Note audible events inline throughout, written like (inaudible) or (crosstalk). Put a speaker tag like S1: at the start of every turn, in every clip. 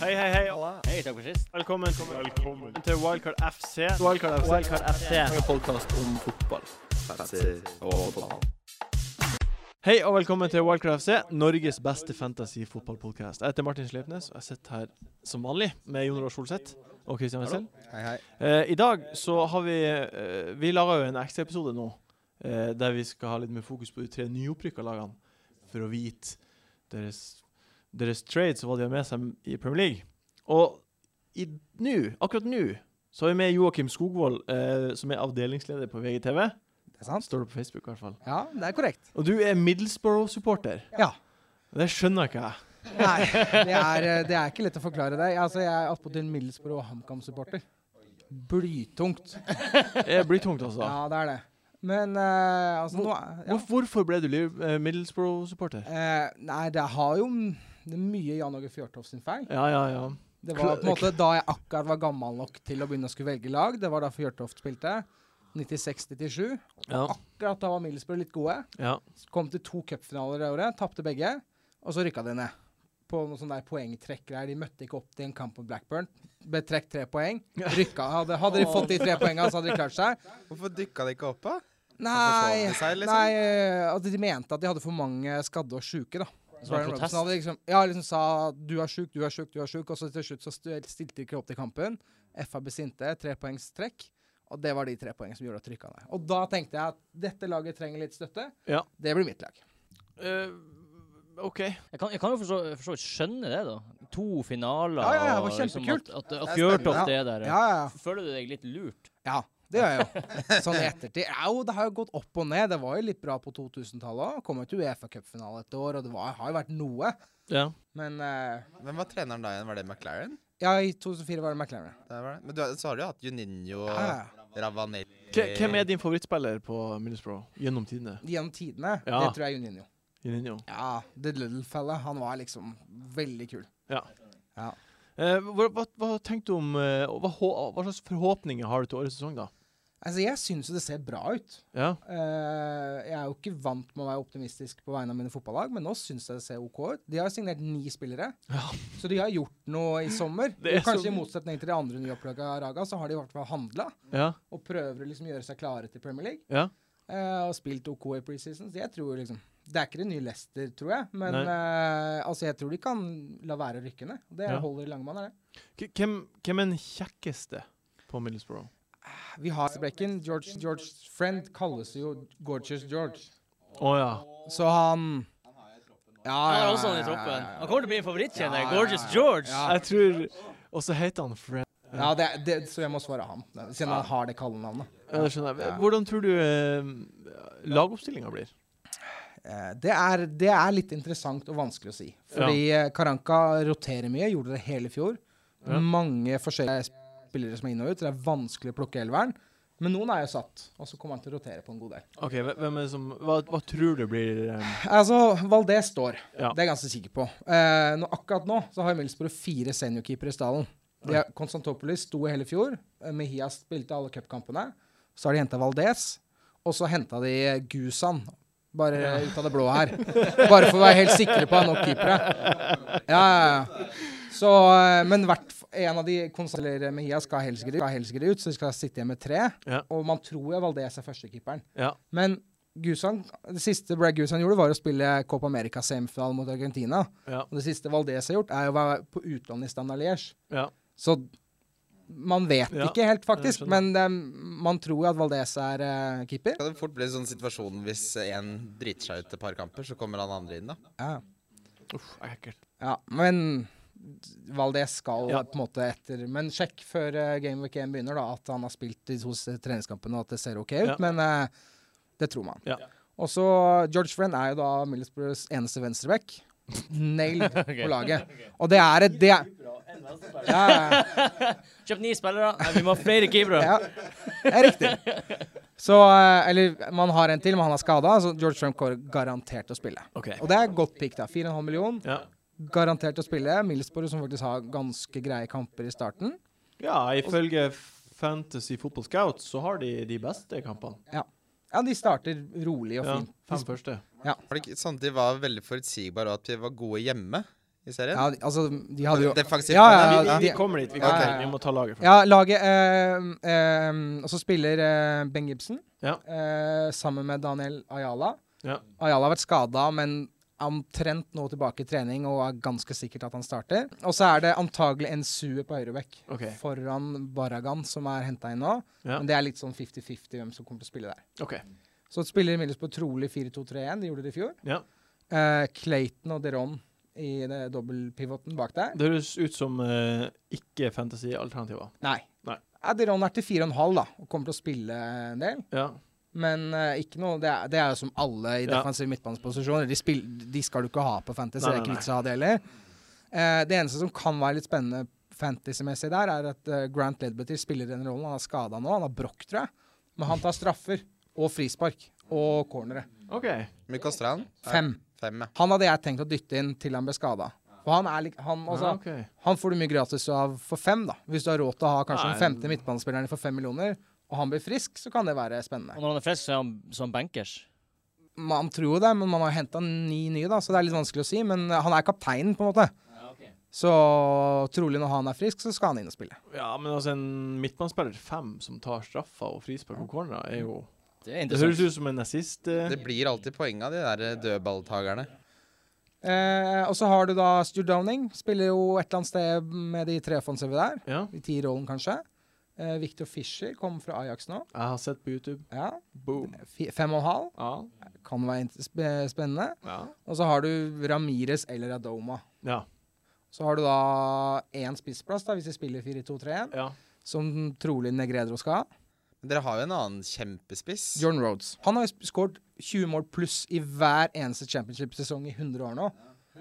S1: Hei, hei, hei.
S2: Hei, takk for sist.
S1: Velkommen, til Wildcard FC.
S3: Wildcard FC.
S2: Wildcard FC.
S3: En podkast om fotball.
S1: Hei og velkommen til Wildcard FC, Norges beste fantasy-fotballpodkast. Jeg heter Martin Sleipnes, og jeg sitter her som vanlig med Jon Roar Solseth og Christian Wessel.
S3: Hei, hei.
S1: Eh, I dag så har vi eh, Vi lager jo en ekstraepisode nå eh, der vi skal ha litt mer fokus på de tre nyopprykka lagene for å vite deres, deres trades og hva de har med seg i Premier League. Og i nå, akkurat nå, så har vi med Joakim Skogvold, eh, som er avdelingsleder på VGTV.
S3: Det er sant?
S1: Står det på Facebook, i hvert fall.
S3: Ja, det er korrekt.
S1: Og du er Middlesbrough-supporter.
S3: Ja.
S1: Det skjønner ikke jeg.
S3: Nei, det er, eh, det er ikke lett å forklare deg. Altså, jeg er attpåtil Middlesbrough og HamKam-supporter. Blytungt.
S1: Det blir tungt, (laughs) altså.
S3: Ja, det er det. Men eh, altså nå er- ja.
S1: Hvor- Hvorfor ble du Liv- eh, Middlesbrough-supporter?
S3: Eh, Nei, det har jo m- det er mye Jan Åge Fjørtoft sin feil.
S1: Ja, ja, ja.
S3: Det var på en måte da jeg akkurat var gammel nok til å begynne å skulle velge lag. Det var da Fjørtoft spilte. 96-97.
S1: Ja,
S3: Akkurat da var Middlesbrough litt gode.
S1: ja.
S3: Kom til to cupfinaler det året, tapte begge, og så rykka de ned. På noen sånne der poengtrekkgreier. De møtte ikke opp til en kamp mot Blackburn. Ble trukket tre poeng. Rykka. Hadde, hadde de fått de tre poengene, så hadde de klart seg.
S4: Hvorfor dykka det ikke opp, da?
S3: Nei,
S4: forsvant de seg, liksom?
S3: nei eh, at De mente at de hadde for mange skadde og sjuke, da.
S2: Det
S3: Så
S2: var en
S3: Brian
S2: protest.
S3: Robson hadde liksom, ja, liksom sa du er sjuk, du er sjuk, du er sjuk. Og så til slutt så stu- stilte de ikke opp til kampen. FA ble sinte, trepoengstrekk. Og det var de tre poengene som gjorde at de rykka ned. Og da tenkte jeg at dette laget trenger litt støtte.
S1: Ja.
S3: Det blir mitt lag.
S1: Eh, OK.
S2: Jeg kan, jeg kan jo for så for så vidt skjønne det, da. To finaler
S3: Ja, ja, ja, det
S2: og liksom
S3: var kjempekult.
S2: at, at, at
S4: Det er spennende.
S2: Fjørtoft er der.
S3: Ja, ja, ja.
S2: Føler du deg litt lurt?
S3: Ja, det gjør jeg jo. Sånn i ettertid. Au, det har jo gått opp og ned. Det var jo litt bra på 2000-tallet òg. Kom jo til Uefa-cupfinale et år, og det var, har jo vært noe.
S1: Ja.
S3: Men eh,
S4: Hvem var treneren da igjen? Var det McLaren?
S3: ja, i 2004 var det McLaren.
S4: Det var det. Men du, har- så har du jo hatt Juninho og
S3: Ja, ja.
S4: Ravanelli
S1: K- Hvem er din favorittspiller på Middlesbrough gjennom tidene?
S3: Gjennom tidene.
S1: Ja.
S3: Det tror jeg er Juninho.
S1: Juninho.
S3: Ja, The Little Fella. Han var liksom veldig kul.
S1: Ja.
S3: Ja.
S1: Eh, hva, hva, hva tenkte du om eh, og hva, hå- hva slags forhåpninger har du til årets sesong, da?
S3: Altså, jeg syns jo det ser bra ut.
S1: Ja.
S3: Eh, jeg er jo ikke vant med å være optimistisk på vegne av mine fotballag, men nå syns jeg det ser OK ut. De har signert ni spillere,
S1: Ja.
S3: så de har gjort noe i sommer.
S1: Det er
S3: Og kanskje
S1: så-
S3: i motsetning til de andre nyopplaga Raga, så har de i hvert fall handla
S1: Ja.
S3: og prøver å liksom gjøre seg klare til Premier League.
S1: Ja.
S3: eh, og spilt OK i preseason, så jeg tror liksom Det er ikke det nye Leicester, tror jeg, men eh, altså, jeg tror de kan la være å rykke ned. Det
S1: Ja.
S3: holder i langmann, er det.
S1: K- Hvem, hvem er den kjekkeste på Middlesbrough?
S3: Vi har brekken. George, George Friend kalles jo Gorgeous George.
S1: Å ja.
S3: Så han Ja,
S2: Han
S3: ja,
S2: er også
S3: ja,
S2: han
S3: ja,
S2: i
S3: ja,
S2: troppen.
S3: ja.
S2: Han kommer til å bli en favoritt, kjenner jeg.
S3: Ja, ja,
S2: Gorgeous
S3: ja.
S2: George.
S3: Ja.
S1: Jeg tror Og så heter han Fred.
S3: Ja, det, det, så jeg må svare ham, siden han har det kallenavnet.
S1: Ja, det skjønner jeg. Hvordan tror du eh, lagoppstillinga blir?
S3: Eh, Det er, det er litt interessant og vanskelig å si. Fordi eh, Karanka roterer mye, gjorde det hele i fjor.
S1: Ja.
S3: Mange forskjellige spillere som er inn og ut, så det er vanskelig å plukke elveren. Men noen er jo satt, og så kommer han til å rotere på en god del.
S1: Ok, hve- hvem er det som Hva, hva tror du blir eh,
S3: Altså, Valdez står.
S1: Ja.
S3: Det er jeg ganske sikker på. Eh, nå, akkurat nå så har Middlesbrough fire seniorkeepere i stallen. De har, Konstantopolis sto i hele fjor. eh, Mejia spilte alle cupkampene. Så har de henta Valdez. Og så henta de eh, Gusan. Bare ut av det blå her. Bare for å være helt sikre på å ha nok keepere. Ja, ja, ja. Så, eh, men hvert, f- en av de konstaterer Mejia skal helt sikkert ut, skal helt sikkert ut, så de skal sitte igjen med tre.
S1: Ja.
S3: Og man tror jo Valdez er førstekeeperen.
S1: Ja.
S3: Men Gusan, det siste Brad Gusan gjorde, var å spille Copa America semifinale mot Argentina.
S1: Ja.
S3: Og det siste Valdez har gjort, er å være på utlandet i Standard Liège.
S1: ja.
S3: Så man vet
S1: Ja,
S3: ikke helt,
S1: jeg
S3: faktisk. Men
S1: skjønner.
S3: eh, man tror jo at Valdez er eh, keeper.
S4: Kan det fort bli en sånn situasjon hvis en driter seg ut et par kamper, så kommer han andre inn, da?
S3: Ja.
S1: Uff, jeg er ekkelt.
S3: ja, men Valdez skal
S1: Ja.
S3: på en måte etter Men sjekk før eh, Game Week 1 begynner, da, at han har spilt de to s- treningskampene, og at det ser OK ut.
S1: Ja.
S3: Men eh, det tror man.
S1: Ja.
S3: Og så George Friend er jo da Middlesbroughs eneste venstreback. Nailed
S1: (laughs)
S3: på laget. Og det er et det er, ja, ja,
S2: Kjøpt ni spillere. Nei, vi må ha flere keepere.
S3: ja. det er riktig. Så eh, Eller man har en til, men han er skada, så George Friend kommer garantert til å spille.
S1: OK.
S3: Og det er et godt pick, da. 4,5 million,
S1: Ja.
S3: garantert til å spille. Middlesbrough, som faktisk har ganske greie kamper i starten.
S1: ja, ifølge Fantasy Football Scout så har de de beste kampene.
S3: Ja, de starter rolig og
S1: Ja,
S3: fint.
S1: fem første.
S4: Var det ikke- Samtidig var det veldig forutsigbar og at vi var gode hjemme. i serien?
S3: Ja, de- altså, de hadde jo
S4: Defensivt.
S3: Ja,
S1: Vi,
S3: ja,
S1: vi,
S3: ja.
S1: vi kommer dit. Vi, kommer
S3: Ja, ja,
S1: dit.
S3: ja.
S1: vi må ta laget først.
S3: Ja, laget eh, eh, Og så spiller eh, Ben Gibson
S1: Ja.
S3: eh, sammen med Daniel Ayala.
S1: Ja.
S3: Ayala har vært skada, men omtrent nå tilbake i trening og er ganske sikkert at han starter. Og så er det antagelig en sue på høyreback
S1: OK.
S3: foran Baragan, som er henta inn nå.
S1: Ja.
S3: Men det er litt sånn 50-50 hvem som kommer til å spille der.
S1: ok.
S3: Så spiller Middlesbrough trolig 4-2-3-1, de gjorde det i fjor.
S1: Ja.
S3: Eh, Clayton og Deron i det dobbeltpivoten bak der.
S1: Det høres ut som eh, ikke fantasy-alternativer.
S3: Nei.
S1: Nei.
S3: Ja, Deron er til 4,5 da, og kommer til å spille en del.
S1: Ja.
S3: Men eh, ikke noe, det er, det er jo som alle i
S1: Ja.
S3: defensiv midtbaneposisjoner. De, spill- de skal du ikke ha på Fantasy.
S1: Nei, nei,
S3: det er ikke
S1: nei.
S3: vits å ha det heller. Eh, det eneste som kan være litt spennende fantasy-messig der, er at eh, Grant Ledbetter spiller den rollen. Han er skada nå. Han har brokk, tror jeg. Men han tar straffer og frispark og cornere.
S1: OK.
S4: Hvor mye koster han?
S3: Fem.
S4: Fem, ja.
S3: Han hadde jeg tenkt å dytte inn til han ble skada. For han er lik han, altså,
S1: ja, ok.
S3: han får du mye gratis av for fem, da. Hvis du har råd til å ha kanskje den
S1: Nei.
S3: femte midtbanespilleren for fem millioner, og han blir frisk, så kan det være spennende.
S2: Og når han er frisk, så er han som bankers.
S3: Man tror jo det, men man har henta ni nye, da, så det er litt vanskelig å si. Men eh, han er kapteinen, på en måte. Så trolig når han er frisk, så skal han inn og spille.
S1: Ja, men altså, en midtbanespiller fem som tar straffa og frispark og cornera, er jo
S2: Det er
S1: Det høres
S2: interessant.
S1: ut som en eh, nazist.
S4: Det blir alltid poeng av de der dødballtagerne.
S3: Eh, og så har du da Stuart Downing. Spiller jo et eller annet sted med de tre offensive der.
S1: Ja.
S3: I ti-rollen, kanskje. Eh, Victor Fischer kom fra Ajax nå.
S1: Jeg har sett på YouTube.
S3: Ja.
S1: Boom.
S3: Fi- Fem og en halv.
S1: Ja.
S3: Kan være int- sp- spennende.
S1: Ja.
S3: Og så har du Ramires eller Adoma.
S1: ja.
S3: Så har du da én spissplass, da, hvis de spiller 4-2-3-1,
S1: ja.
S3: som trolig Negredro skal ha.
S4: Men Dere har jo en annen kjempespiss.
S3: Jordan Rhodes. Han har jo skåret 20 mål pluss i hver eneste championship-sesong i 100 år nå.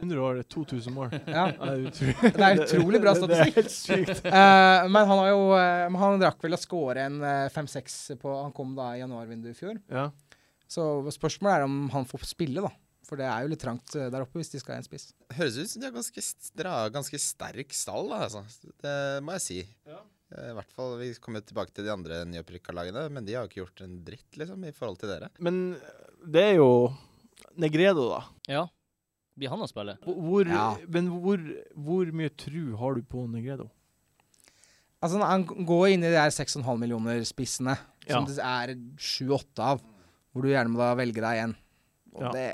S1: 100 år, det er 2000
S3: (laughs)
S1: mål. Ja,
S3: Ja.
S1: Det er utrolig,
S3: Det er utrolig bra
S1: (laughs) Det- Det er helt
S3: (laughs)
S1: sykt.
S3: Eh, men han har jo eh, men Han rakk vel å skåre en eh, 5-6 på Han kom da i januarvinduet i fjor.
S1: Ja.
S3: Så spørsmålet er om han får spille, da. For det er jo litt trangt eh, der oppe hvis de skal ha en spiss.
S4: Høres ut som de har ganske, s- dere har ganske sterk stall, da, altså. Det må jeg si. Eh, I hvert fall, Vi kommer tilbake til de andre nyopprykka lagene, men de har jo ikke gjort en dritt, liksom, i forhold til dere.
S1: Men det er jo Negredo, da.
S2: Ja. Blir han å spille?
S1: Hvor- Hvor,
S3: Ja.
S1: Men hvor, hvor mye tru har du på Negredo?
S3: Altså, han går inn i de der 6,5 millioner-spissene, som
S1: Ja.
S3: det er 7-8 av, hvor du gjerne må da velge deg en. Og
S1: Ja.
S3: det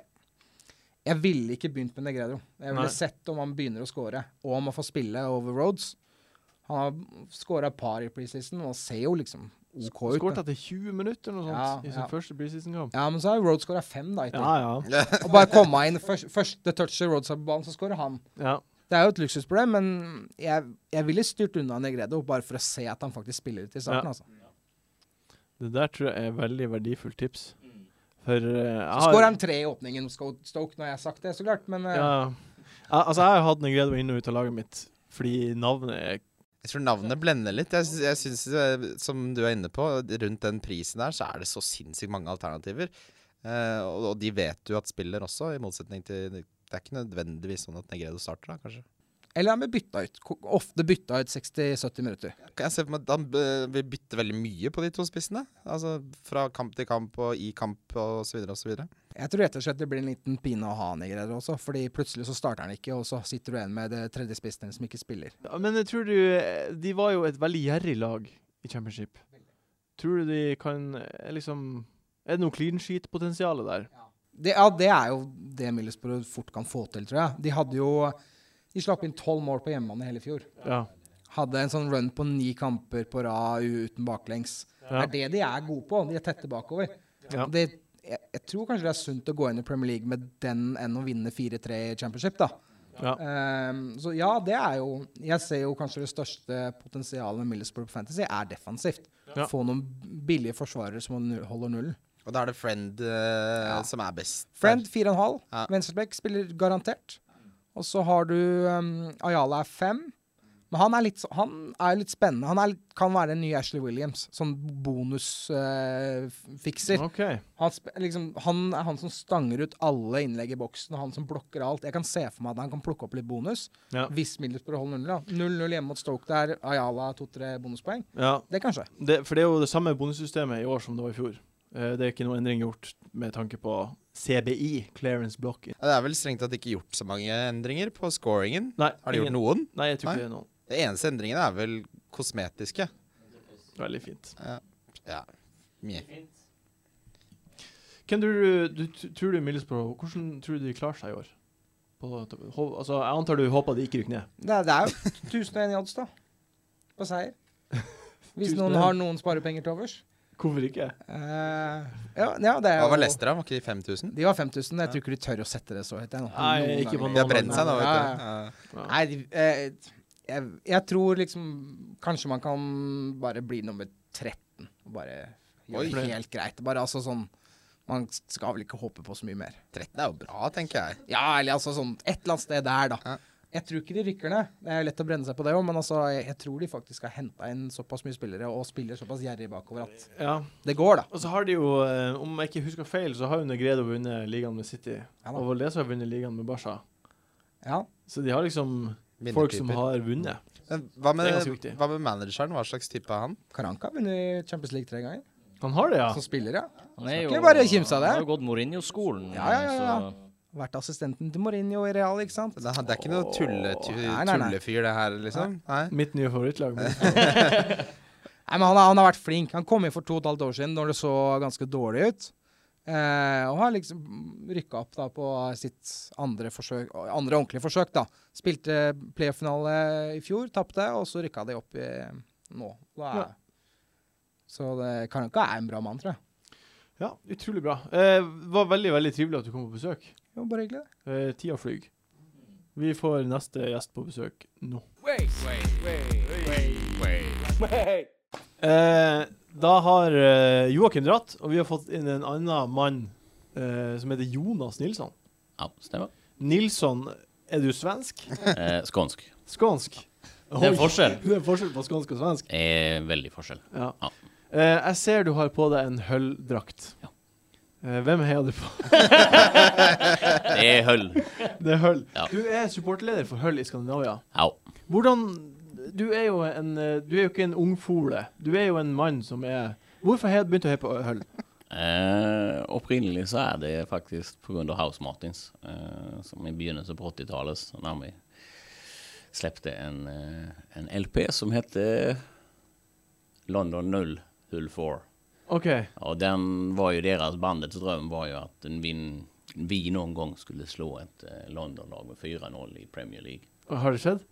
S3: Jeg ville ikke begynt med Negredo. Jeg ville
S1: Nei.
S3: sett om han begynner å score, og om han får spille over Roads. Han har skåra par i preseason, og han ser jo liksom OK ut.
S1: Skåret
S3: men-
S1: etter 20 minutter eller noe sånt
S3: Ja,
S1: i sin
S3: ja.
S1: første preseason-kamp.
S3: Ja, men så har Roads skåra fem, da. Etter.
S1: Ja, ja.
S3: Og bare komme inn først, første touchet Roads har på banen, så skårer han.
S1: ja.
S3: Det er jo et luksusproblem, men jeg, jeg ville styrt unna Negredo bare for å se at han faktisk spiller ut i starten,
S1: Ja.
S3: altså.
S1: Det der tror jeg er veldig verdifullt tips.
S4: Mm.
S1: For eh, jeg
S3: Så skårer han tre i åpningen mot Sco- Stoke, når jeg har sagt det, så klart. Men eh,
S1: Ja. Al- Altså, jeg har hatt Negredo inn og ut av laget mitt fordi navnet er
S4: Jeg tror navnet blender litt. Jeg, sy- jeg synes, eh, Som du er inne på, rundt den prisen der, så er det så sinnssykt mange alternativer. Eh, og, og de vet du at spiller også, i motsetning til Det er ikke nødvendigvis sånn at Negredo starter, da, kanskje.
S3: Eller han blir bytta ut. Ko- Ofte bytta ut 60-70 minutter.
S4: Kan jeg se for meg at Han eh, vil bytte veldig mye på de to spissene. Altså fra kamp til kamp og i kamp og så videre og så videre.
S3: Jeg tror rett og slett det blir en liten pine å ha Negredo også, fordi plutselig så starter han ikke, og så sitter du igjen med det tredje spissen som ikke spiller.
S1: Ja, Men jeg tror du eh, De var jo et veldig gjerrig lag i championship. Tror du de kan eh, liksom Er det noe clean sheet-potensial der?
S3: Det, ja, det er jo det Middlesbrough fort kan få til, tror jeg. De hadde jo De slapp inn tolv mål på hjemmebane i hele fjor.
S1: Ja.
S3: Hadde en sånn run på ni kamper på rad u- uten baklengs.
S1: Ja.
S3: Det er det de er gode på. De er tette bakover.
S1: Ja.
S3: Det, jeg, jeg tror kanskje det er sunt å gå inn i Premier League med den enn å vinne 4-3 i Championship, da.
S1: Ja.
S3: Ehm, så ja, det er jo Jeg ser jo kanskje det største potensialet med Middlesbrough på Fantasy er defensivt.
S1: Ja.
S3: Få noen billige forsvarere som nu- holder nullen.
S4: Og da er det Friend eh, som er best.
S3: Friend 4,5.
S4: Ja.
S3: Venstrebekk spiller garantert. Og så har du ehm, Ayala er 5. Men han er litt, så- han er litt spennende. Han er, litt- kan være en ny Ashley Williams. Sånn bonusfikser.
S1: OK.
S3: han, sp- liksom, han er han som stanger ut alle innlegg i boksen, og han som blokker alt. Jeg kan se for meg at han kan plukke opp litt bonus
S1: Ja.
S3: hvis Middlesbrough holder null. da. 0-0 hjemme mot Stoke der. Ayala to-tre bonuspoeng.
S1: ja.
S3: Det kan skje.
S1: Det, for det er jo det samme bondesystemet i år som det var i fjor. Eh, Det er ikke noe endring gjort med tanke på CBI, clearance block.
S4: Ja, Det er vel strengt tatt ikke gjort så mange endringer på scoringen.
S1: Nei,
S4: Har de gjort
S1: ingen-
S4: noen?
S1: Nei, jeg tror
S4: Nei.
S1: ikke det er noen.
S4: De eneste endringene er vel kosmetiske.
S1: Veldig fint.
S4: Ja. Mjau.
S1: Hvem tror du, du t- tror du Middlesbrough Hvordan tror du de klarer seg i år? På, hå- altså, jeg antar du håper de ikke rykker ned.
S3: Det er, det er jo 1001 i odds, da. På seier. Hvis
S1: 1001.
S3: noen har noen sparepenger til overs.
S1: Hvorfor ikke?
S3: Eh, ja, ja, det er
S4: Hva var
S3: jo-
S4: Lester, da? Var ikke de 5000?
S3: De var 5000. Jeg tror ikke de tør å sette det så høyt. jeg, nå.
S1: Nei,
S3: Noen
S1: ikke på
S3: ganger.
S4: De har brent seg nå,
S3: Ja, ja.
S4: vet du. Ja.
S3: Nei, de, eh, jeg, jeg tror liksom Kanskje man kan bare bli nummer 13. Og bare
S4: Oi.
S3: gjøre det helt greit. Bare altså sånn Man skal vel ikke håpe på så mye mer.
S4: 13 er jo bra, tenker jeg.
S3: Ja, eller altså sånn et eller annet sted der, da.
S4: Ja.
S3: Jeg tror ikke de rykker ned. Det er jo lett å brenne seg på det òg, men altså, jeg, jeg tror de faktisk har henta inn såpass mye spillere og spiller såpass gjerrig bakover at
S1: Ja.
S3: det går, da.
S1: Og så har de jo, eh, om jeg ikke husker feil, så har jo Negredo vunnet ligaen med City.
S3: da.
S1: og Valdez har vunnet ligaen med Barca.
S3: Ja.
S1: Så de har liksom folk som
S4: Vinnertyper.
S1: har vunnet.
S4: Men Hva
S1: Det
S4: med,
S1: er ganske viktig.
S4: hva med manageren? Hva slags type er han?
S3: Karanka har vunnet Champions League tre ganger.
S1: Han har det, ja.
S3: Som spiller, ja.
S2: Han er
S3: Skal
S2: jo
S3: ikke bare kimse av det.
S2: Han har jo gått Mourinho-skolen.
S3: Ja, ja, ja, ja.
S2: så-
S3: Vært assistenten til Mourinho i Real, ikke sant?
S4: Det er, det er ikke noe tulle, tu,
S3: Nei, nei, nei.
S4: tullefyr, det her, liksom? Nei.
S1: Mitt nye (laughs) favorittlag. men-
S3: Nei, men han, har- han har vært flink. Han kom inn for to og et halvt år siden når det så ganske dårlig ut. Eh, og har liksom rykka opp da på sitt andre, forsøk, andre ordentlige forsøk, da. Spilte playoff-finale i fjor, tapte, og så rykka de opp i, nå. Da er,
S1: Ja.
S3: Så det Karanka er en bra mann, tror jeg.
S1: Ja, utrolig bra. Eh, var veldig, veldig trivelig at du kom på besøk.
S3: Jo, bare hyggelig, det.
S1: Eh, tida flyr. Vi får neste gjest på besøk nå. Eh, da har eh, Joakim dratt, og vi har fått inn en annen mann eh, som heter Jonas Nilsson.
S5: Ja, stemmer.
S1: Nilsson, er du svensk?
S5: Eh, skånsk.
S1: Skånsk?
S5: Det er
S1: Oi,
S5: forskjell.
S1: (laughs) det er forskjell på skånsk og svensk.
S5: Eh, veldig forskjell.
S1: Ja.
S5: Ja.
S1: Eh, jeg ser du har på deg en hølldrakt.
S5: Ja.
S1: Eh, hvem heier du på?
S5: Det er høll.
S1: Det er høll.
S5: Ja.
S1: Du er supportleder for høll i Skandinavia.
S5: Au.
S1: Hvordan Du er jo en eh, Du er jo ikke en ungfole. Du er jo en mann som er Hvorfor har du begynt å heie på Hull?
S5: Eh, opprinnelig så er det faktisk pga. House Martins, eh, som i begynnelsen på 80-tallet så når vi slepte en, eh, en LP som hette London 0 Hull 4.
S1: OK.
S5: Og den var ju deras, bandets drøm var jo at en vin, vi noen gang skulle slå et eh, London-lag med 4-0 i Premier League.
S1: Har det skjedd?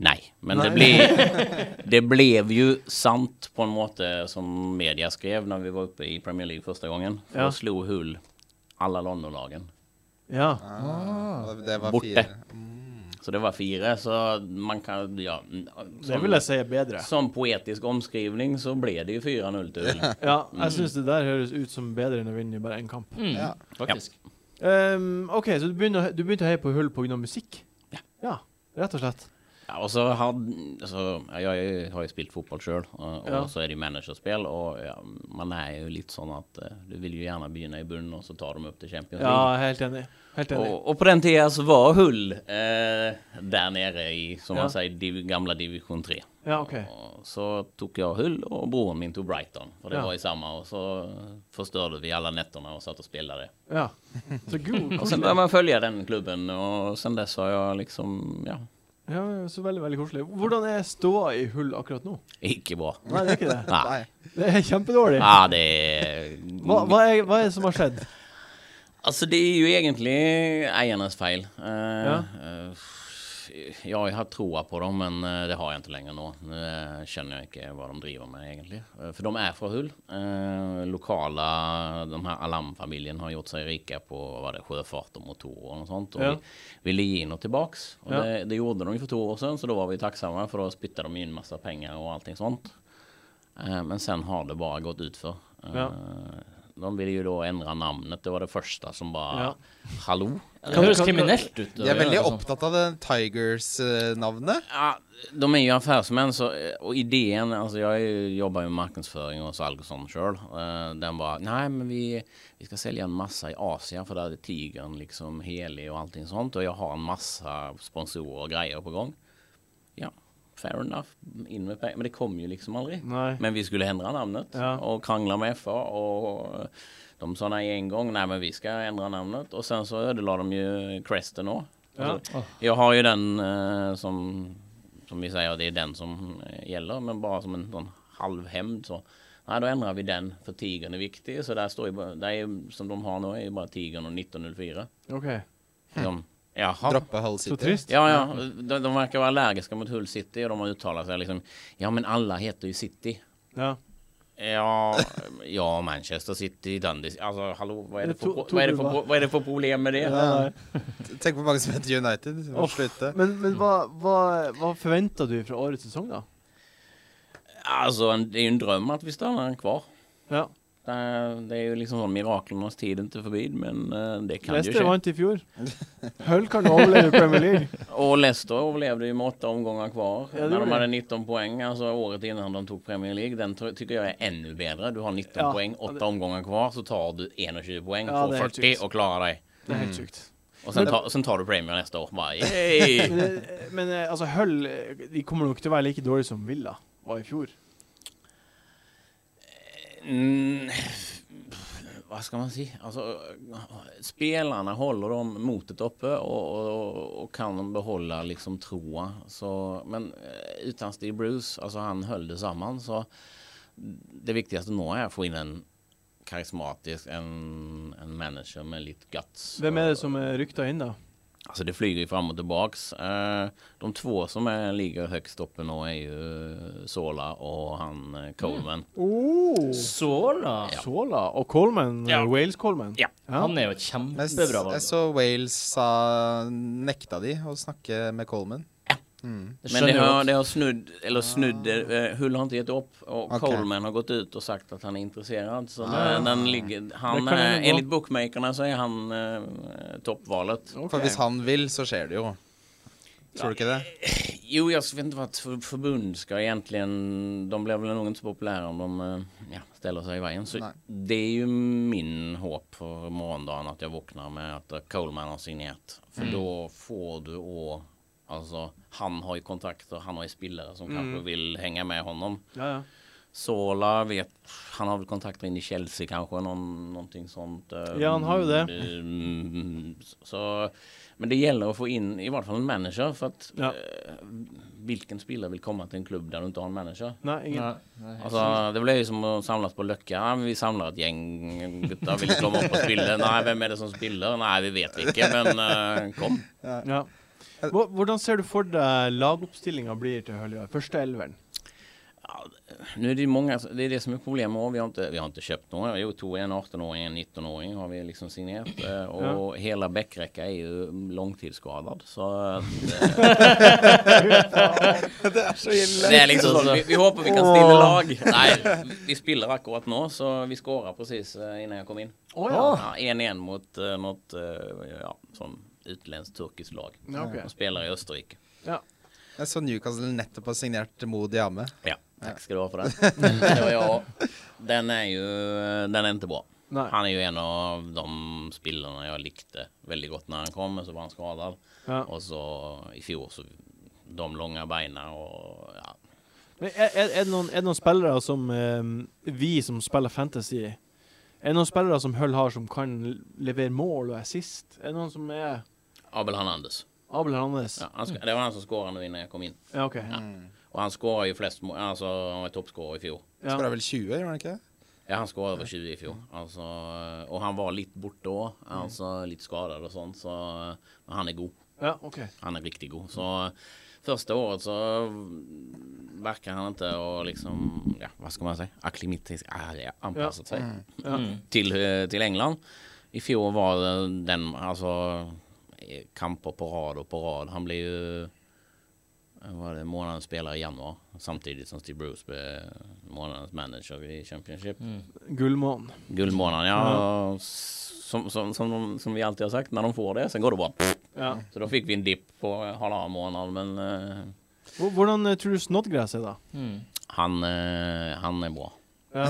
S5: Nei, men
S1: Nej.
S5: det blev,
S1: (laughs)
S5: det blev ju sant på en måte som media skrev när vi var uppe i Premier League första gången. För
S1: Ja.
S5: ja. slog Hull alla Londonlagen.
S1: Ja.
S4: Ah, det var
S5: Borte.
S4: fire.
S5: Så det var fyra, så man kan... Ja,
S1: Det vil jeg si er bedre.
S5: som poetisk omskrivning så blev det ju 4-0 till
S1: (laughs)
S5: Hull.
S1: Ja, jeg syns det der høres ut som bedre enn å vinne i bare én kamp.
S2: Mm,
S4: Ja.
S2: Faktisk.
S1: Ehm, OK, så du begynte, å- du begynte å heie på Hull pga. musikk?
S5: Ja.
S1: ja. Rett og slett.
S5: Ja, og så har så, ja, Jeg har jo spilt fotball sjøl, og, og
S1: Ja.
S5: så er det jo managerspill. Og ja, man er jo litt sånn at eh, du vil jo gjerne begynne i bunnen, og så tar de opp til Champions
S1: Ja,
S5: League.
S1: jeg er helt enig. Helt
S5: og,
S1: enig.
S5: og på den tida så var Hull eh, der nede i som
S1: Ja.
S5: man sier, div, gamle divisjon 3.
S1: Ja, OK.
S5: Og så tok jeg Hull, og broren min tok Brighton, for det
S1: Ja.
S5: var i samme. Og så forstyrret vi alle nettene og satt og spilte det.
S1: Ja. Så god.
S5: (laughs) Og så
S1: koselig.
S5: bør man følge den klubben, og siden dess har jeg liksom Ja,
S1: Ja, så veldig, veldig koselig. Hvordan er ståa i Hull akkurat nå?
S5: ikke bra.
S1: (laughs) Nei, det er ikke det.
S5: Nei.
S1: Det er kjempedårlig.
S5: Ja, det er
S1: Hva, hva, er, hva er det som har skjedd?
S5: Altså, det er jo egentlig eiernes feil. Eh,
S1: Ja.
S5: eh, f- ja, jeg har troa på dem, men eh, det har jeg ikke lenger nå. Nå eh, skjønner jeg ikke hva de driver med, egentlig. Eh, for de er fra Hull. Eh, lokale De her Alam-familien har gjort seg rike på hva det, sjøfart og motorer og noe sånt. Og
S1: Ja.
S5: vi ville gi noe tilbake. Og
S1: Ja.
S5: det, det gjorde de jo for to år siden, så da var vi takksomme, for da spytta de inn masse penger og allting sånt. Eh, Men sen har det bare gått utfor. Eh,
S1: Ja.
S5: De ville jo da endre navnet. Det var det første som bare
S1: Ja.
S5: Hallo?
S2: Det høres kriminelt ut.
S4: De er veldig opptatt av det eh, Tigers-navnet.
S5: Ja, de er jo affärsmän, så, eh, og ideen altså Jeg er jo- jobber jo med markedsføring og salg og sånn sjøl. Den var Nei, men vi, vi skal selge en masse i Asia, for der er tigeren liksom helig og allting sånt. Og jeg har en masse sponsorer og greier på gang. Ja. fair enough, inn med penger. Men det kom ju liksom aldrig.
S1: Nei.
S5: Men vi skulle ändra namnet
S1: Ja.
S5: och krångla med FA och eh, de sa nej en gång, nej men vi ska ändra namnet. Och sen så ödelade de ju Cresten också.
S1: Ja.
S5: Jag har ju den eh, som, som vi säger, det är den som eh, gäller, men bara som en sån halvhämnd så. Nej, då ändrar vi den, för tigern är viktig. Så där står ju bara, där är, som de har nu är ju bara tigern och 1904.
S1: OK.
S5: De, jaha.
S4: Droppe Hull City.
S1: Så trist.
S5: Ja, ja. De, de verkar vara allergiska mot Hull City och de har uttalat sig liksom. Ja, men alla heter ju City.
S1: Ja.
S5: Ja, ja Manchester City, Dundee. altså, Alltså, hallå, vad är det
S1: To-
S5: för, vad är det
S1: Tobba.
S5: för, vad är det för problem med det?
S1: Nei, nei.
S4: Tenk på mange som heter United. Vi må
S1: Uff.
S4: slutte.
S1: Men, men hva, hva, hva forventa du fra årets sesong, da?
S5: Alltså, Altså, en, det är ju en dröm att vi stannar kvar.
S1: Ja.
S5: Det är, det är ju liksom sån miraklernas tid inte förbi, men eh, det kan ju
S1: Leicester
S5: ske.
S1: vant i (laughs) fjor. Hull kan overleve Premier League.
S5: Och Leicester överlevde ju med åtta omgångar kvar.
S1: Ja, det
S5: när
S1: gjorde
S5: de
S1: det.
S5: hade 19 poäng, alltså altså, året innan de tog Premier League. Den tr- tycker jag är ännu bättre. Du har 19
S1: Ja.
S5: poäng,
S1: Ja, det-
S5: åtta omgångar kvar, så tar du 21 poäng,
S1: Ja, det
S5: får
S1: är helt
S5: 40
S1: sjukt.
S5: och klarar dig.
S1: Det er helt sjukt.
S5: Och sen,
S1: Men-
S5: tar- sen tar du Premier nästa år.
S1: (laughs)
S5: Bara, yay!
S1: Men, eh, men eh, altså, Hull eh, de kommer nok til å være like dårlige som Villa var i fjor.
S5: Mm, vad ska man säga? Alltså, spelarna håller dem motet uppe och, och, och kan de behålla liksom troa. Så, men eh, utan Steve Bruce, alltså han höll det samman. Så det viktigaste nå är att få in en karismatisk, en, en manager med lite guts.
S1: Hvem er det som er rykta inn, da?
S5: Alltså det flyger ju fram och tillbaks. Eh, De två som är, ligger högst uppe nu är ju Sola og han eh, Coleman.
S1: Oh!
S2: Såla!
S1: Sola og Coleman.
S5: Ja.
S1: Wales-Coleman.
S5: Ja.
S2: Han er jo et
S4: Men s-
S2: kjempebra
S4: jeg
S2: valg.
S4: så Wales sa nekta de å snakke med Coleman.
S2: Det
S5: Men det
S2: skjønner jeg
S5: har,
S2: godt.
S5: det har snudd, eller snudd, eh, Hull har inte gett upp och
S4: Okej.
S5: Coleman har gått ut och sagt att han är intresserad. Så den, den ligger,
S1: Det
S5: han,
S1: kan ju
S5: eh,
S1: vara.
S5: enligt bookmakerna så är han eh, toppvalet.
S1: Ok.
S4: For hvis han vil, så skjer det jo. Tror du ikke det?
S5: Jo, jag vet inte vad ett för- förbund ska egentligen, de blir väl nog inte så populära om de eh, ja, ställer sig i vägen. Så
S4: Nej.
S5: det är ju min hopp för morgondagen att jag vaknar med att eh, Coleman har signerat. För
S1: Mm.
S5: då får du och, alltså han har ju kontakter, han har ju spelare som
S1: Mm.
S5: kanske vill hänga med honom.
S1: Ja, ja.
S5: Sola vet, han har väl kontakter in i Chelsea kanske, någon, någonting sånt. eh,
S1: Ja, han har ju det.
S5: mm, Så, men det gäller att få in i vart fall en manager för att
S1: Ja.
S5: eh, vilken spelare vill komma till en klubb där du inte har en manager?
S1: Nei, ingen.
S2: Nei, nei.
S5: Alltså, det blir ju som att samlas på Löcka. Ja, men vi samlar ett gäng gutta, vill inte komma upp och spilla? Nej, vem är det som spiller? Nej, vi vet inte, men eh, kom.
S1: Ja. Hva- Hvordan ser du for deg lagoppstillinga blir til Hull i år? Første elveren?
S5: Nu är det ju många, det är det som är problemet. och Vi har inte, vi har inte köpt några. Jo, tog en 18-åring, en 19-åring har vi liksom signerat. eh, Och hela Bäckräcka är ju långtidsskadad. Så att, (laughs) eh, det är liksom så, vi, vi hoppas vi kan stilla lag. Nej, vi spelar akkurat nu, så vi skårar precis eh, innan jag kom in.
S1: Å
S5: Ja, 1-1 mot eh, något eh, ja, som utländskt turkiskt lag.
S1: Ja, okej.
S5: De spelar i Österrike.
S1: ja.
S4: Jeg så Newcastle nettopp har signert Mo Diame.
S5: Ja, tack ska du ha för den. Det var jag. Den är ju, den är inte bra.
S1: Nej.
S5: Han är ju en av de spelarna jag likte väldigt gott när han kom, men så var han skadad.
S1: Ja.
S5: Och så i fjol så, de långa beina och ja.
S1: Men er, er, er, det noen, er det noen spillere som eh, vi som spiller fantasy Er det noen spillere som Hull har som kan levere mål og assist? Er det noen som er
S5: Abel Hernandez.
S1: Abel Hernandez?
S5: Ja, Mm. han, sk- det var han som skårade nu innan jag kom in.
S1: Ja, OK.
S5: Och han skårar ju flest mål, alltså han var toppscorare i fjol.
S1: Ja.
S4: Skåra vel 20, gjorde han ikke? det?
S5: Ja, han skårade över 20 i fjol. Alltså, och han var lite bort då, alltså lite skadad och sånt. Så, men han är god.
S1: Ja, OK.
S5: Han är riktigt god. Så första året så verkar han inte och liksom, ja, vad ska man säga, akklimatisk, ah, ja, Mm. anpassat sig till, eh, till England. I fjol var det den, alltså eh, kamper på rad och på rad. Han blev ju eh, vad var det, månadens spelare i januari samtidigt som Steve Bruce blev månadens manager i Championship.
S2: Mm,
S1: Gullmånen.
S5: Guldmånaden, ja. Som, som, som, de, som vi alltid har sagt, när de får det, sen går det bra.
S1: Ja.
S5: Så då fick vi en dipp på halvannen månad, men eh,
S1: Hvor- Hvordan eh, tror du Snodgrass er, da?
S2: Mm.
S5: han, (laughs) eh, han är bra.
S1: Ja.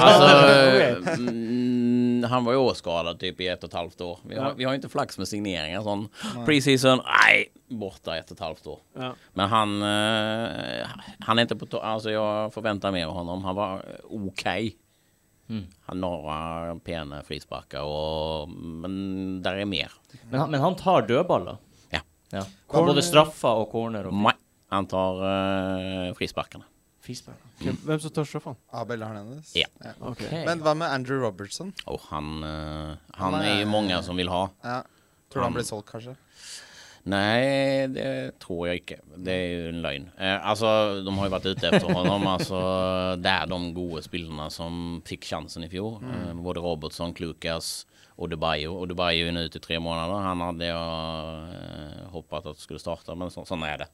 S5: Alltså,
S1: Okej.
S5: mm, men han var ju åskadad typ i ett och ett halvt år. Vi har, vi har ju inte flax med signeringar sån. Preseason, nej, borta ett och ett halvt år.
S1: Ja.
S5: Men han, eh, han är inte på to- altså, Alltså jag förväntar mig av honom. Han var eh, okej. Han har några pene frisparkar och... Men där är mer.
S2: Men han, men han tar dødballer.
S5: Ja.
S2: ja.
S1: Corner.
S2: Både straffer og corner. Og
S5: Nej, han tar eh, frisparkarna.
S2: frispark.
S1: Hvem, hvem som tar straffene?
S4: Abel Hernandez.
S5: Ja.
S1: Ok.
S2: Ok.
S4: Men hva med Andrew Robertson?
S5: Och han, eh, han,
S4: Han
S5: är,
S4: är-
S5: ju många som vill ha.
S4: Ja. Tror du han blir solgt, kanskje?
S5: Nej, det tror jag inte. Det är ju en lögn. Eh, alltså, de har ju varit ute efter honom. Alltså, det är de goda spelarna som fick chansen i fjol. Eh, både Robertson, Klukas och Debaio. Och Debaio är nu ute i tre månader. Han hade jag eh, hoppats att skulle starta, men så, sån är det.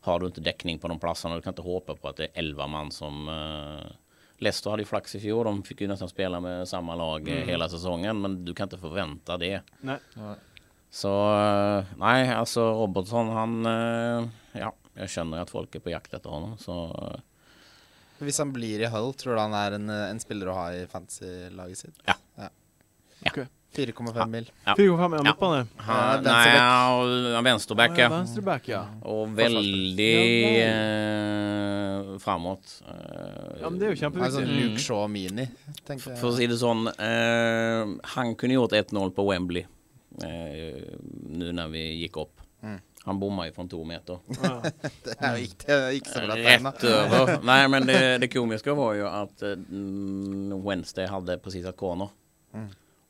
S5: Har du inte däckning på de platserna, du kan inte hoppa på att det är elva man som... Eh, Leicester hade ju flax i fjol. De fick ju nästan spela med samma lag eh, hela säsongen, men du kan inte förvänta det.
S1: Nei.
S5: Så eh, nej, alltså Robertson han, eh, ja, jag känner att folk är på jakt efter honom. Så eh,
S4: Hvis han blir i Hull, tror du han er en, eh, en spiller å ha i fantasy-laget sitt?
S5: Ja.
S4: 4,5 mil.
S5: Ja.
S1: 4,5 er han
S5: Ja.
S1: midtbane.
S5: han,
S4: Ja,
S5: nej,
S4: vänsterback.
S5: han- han vänsterback ja.
S1: Venstreback, ja.
S5: Och väldigt eh, framåt. Eh,
S1: ja. Men det er jo
S4: Han er sånn
S1: kjempeviktig.
S4: Luke Shaw Mini, tenker
S5: För att
S4: jeg.
S5: säga det sån, eh, han kunde gjort 1-0 på Wembley. Eh, nu när vi gick upp. Han bommade ju från to meter.
S1: Ja.
S4: (laughs) Det er jo ikke, ikke så bra tegna.
S1: (laughs)
S5: Rätt över. Nej men det, det komiska var ju att eh, mm, Wednesday hade precis ett corner.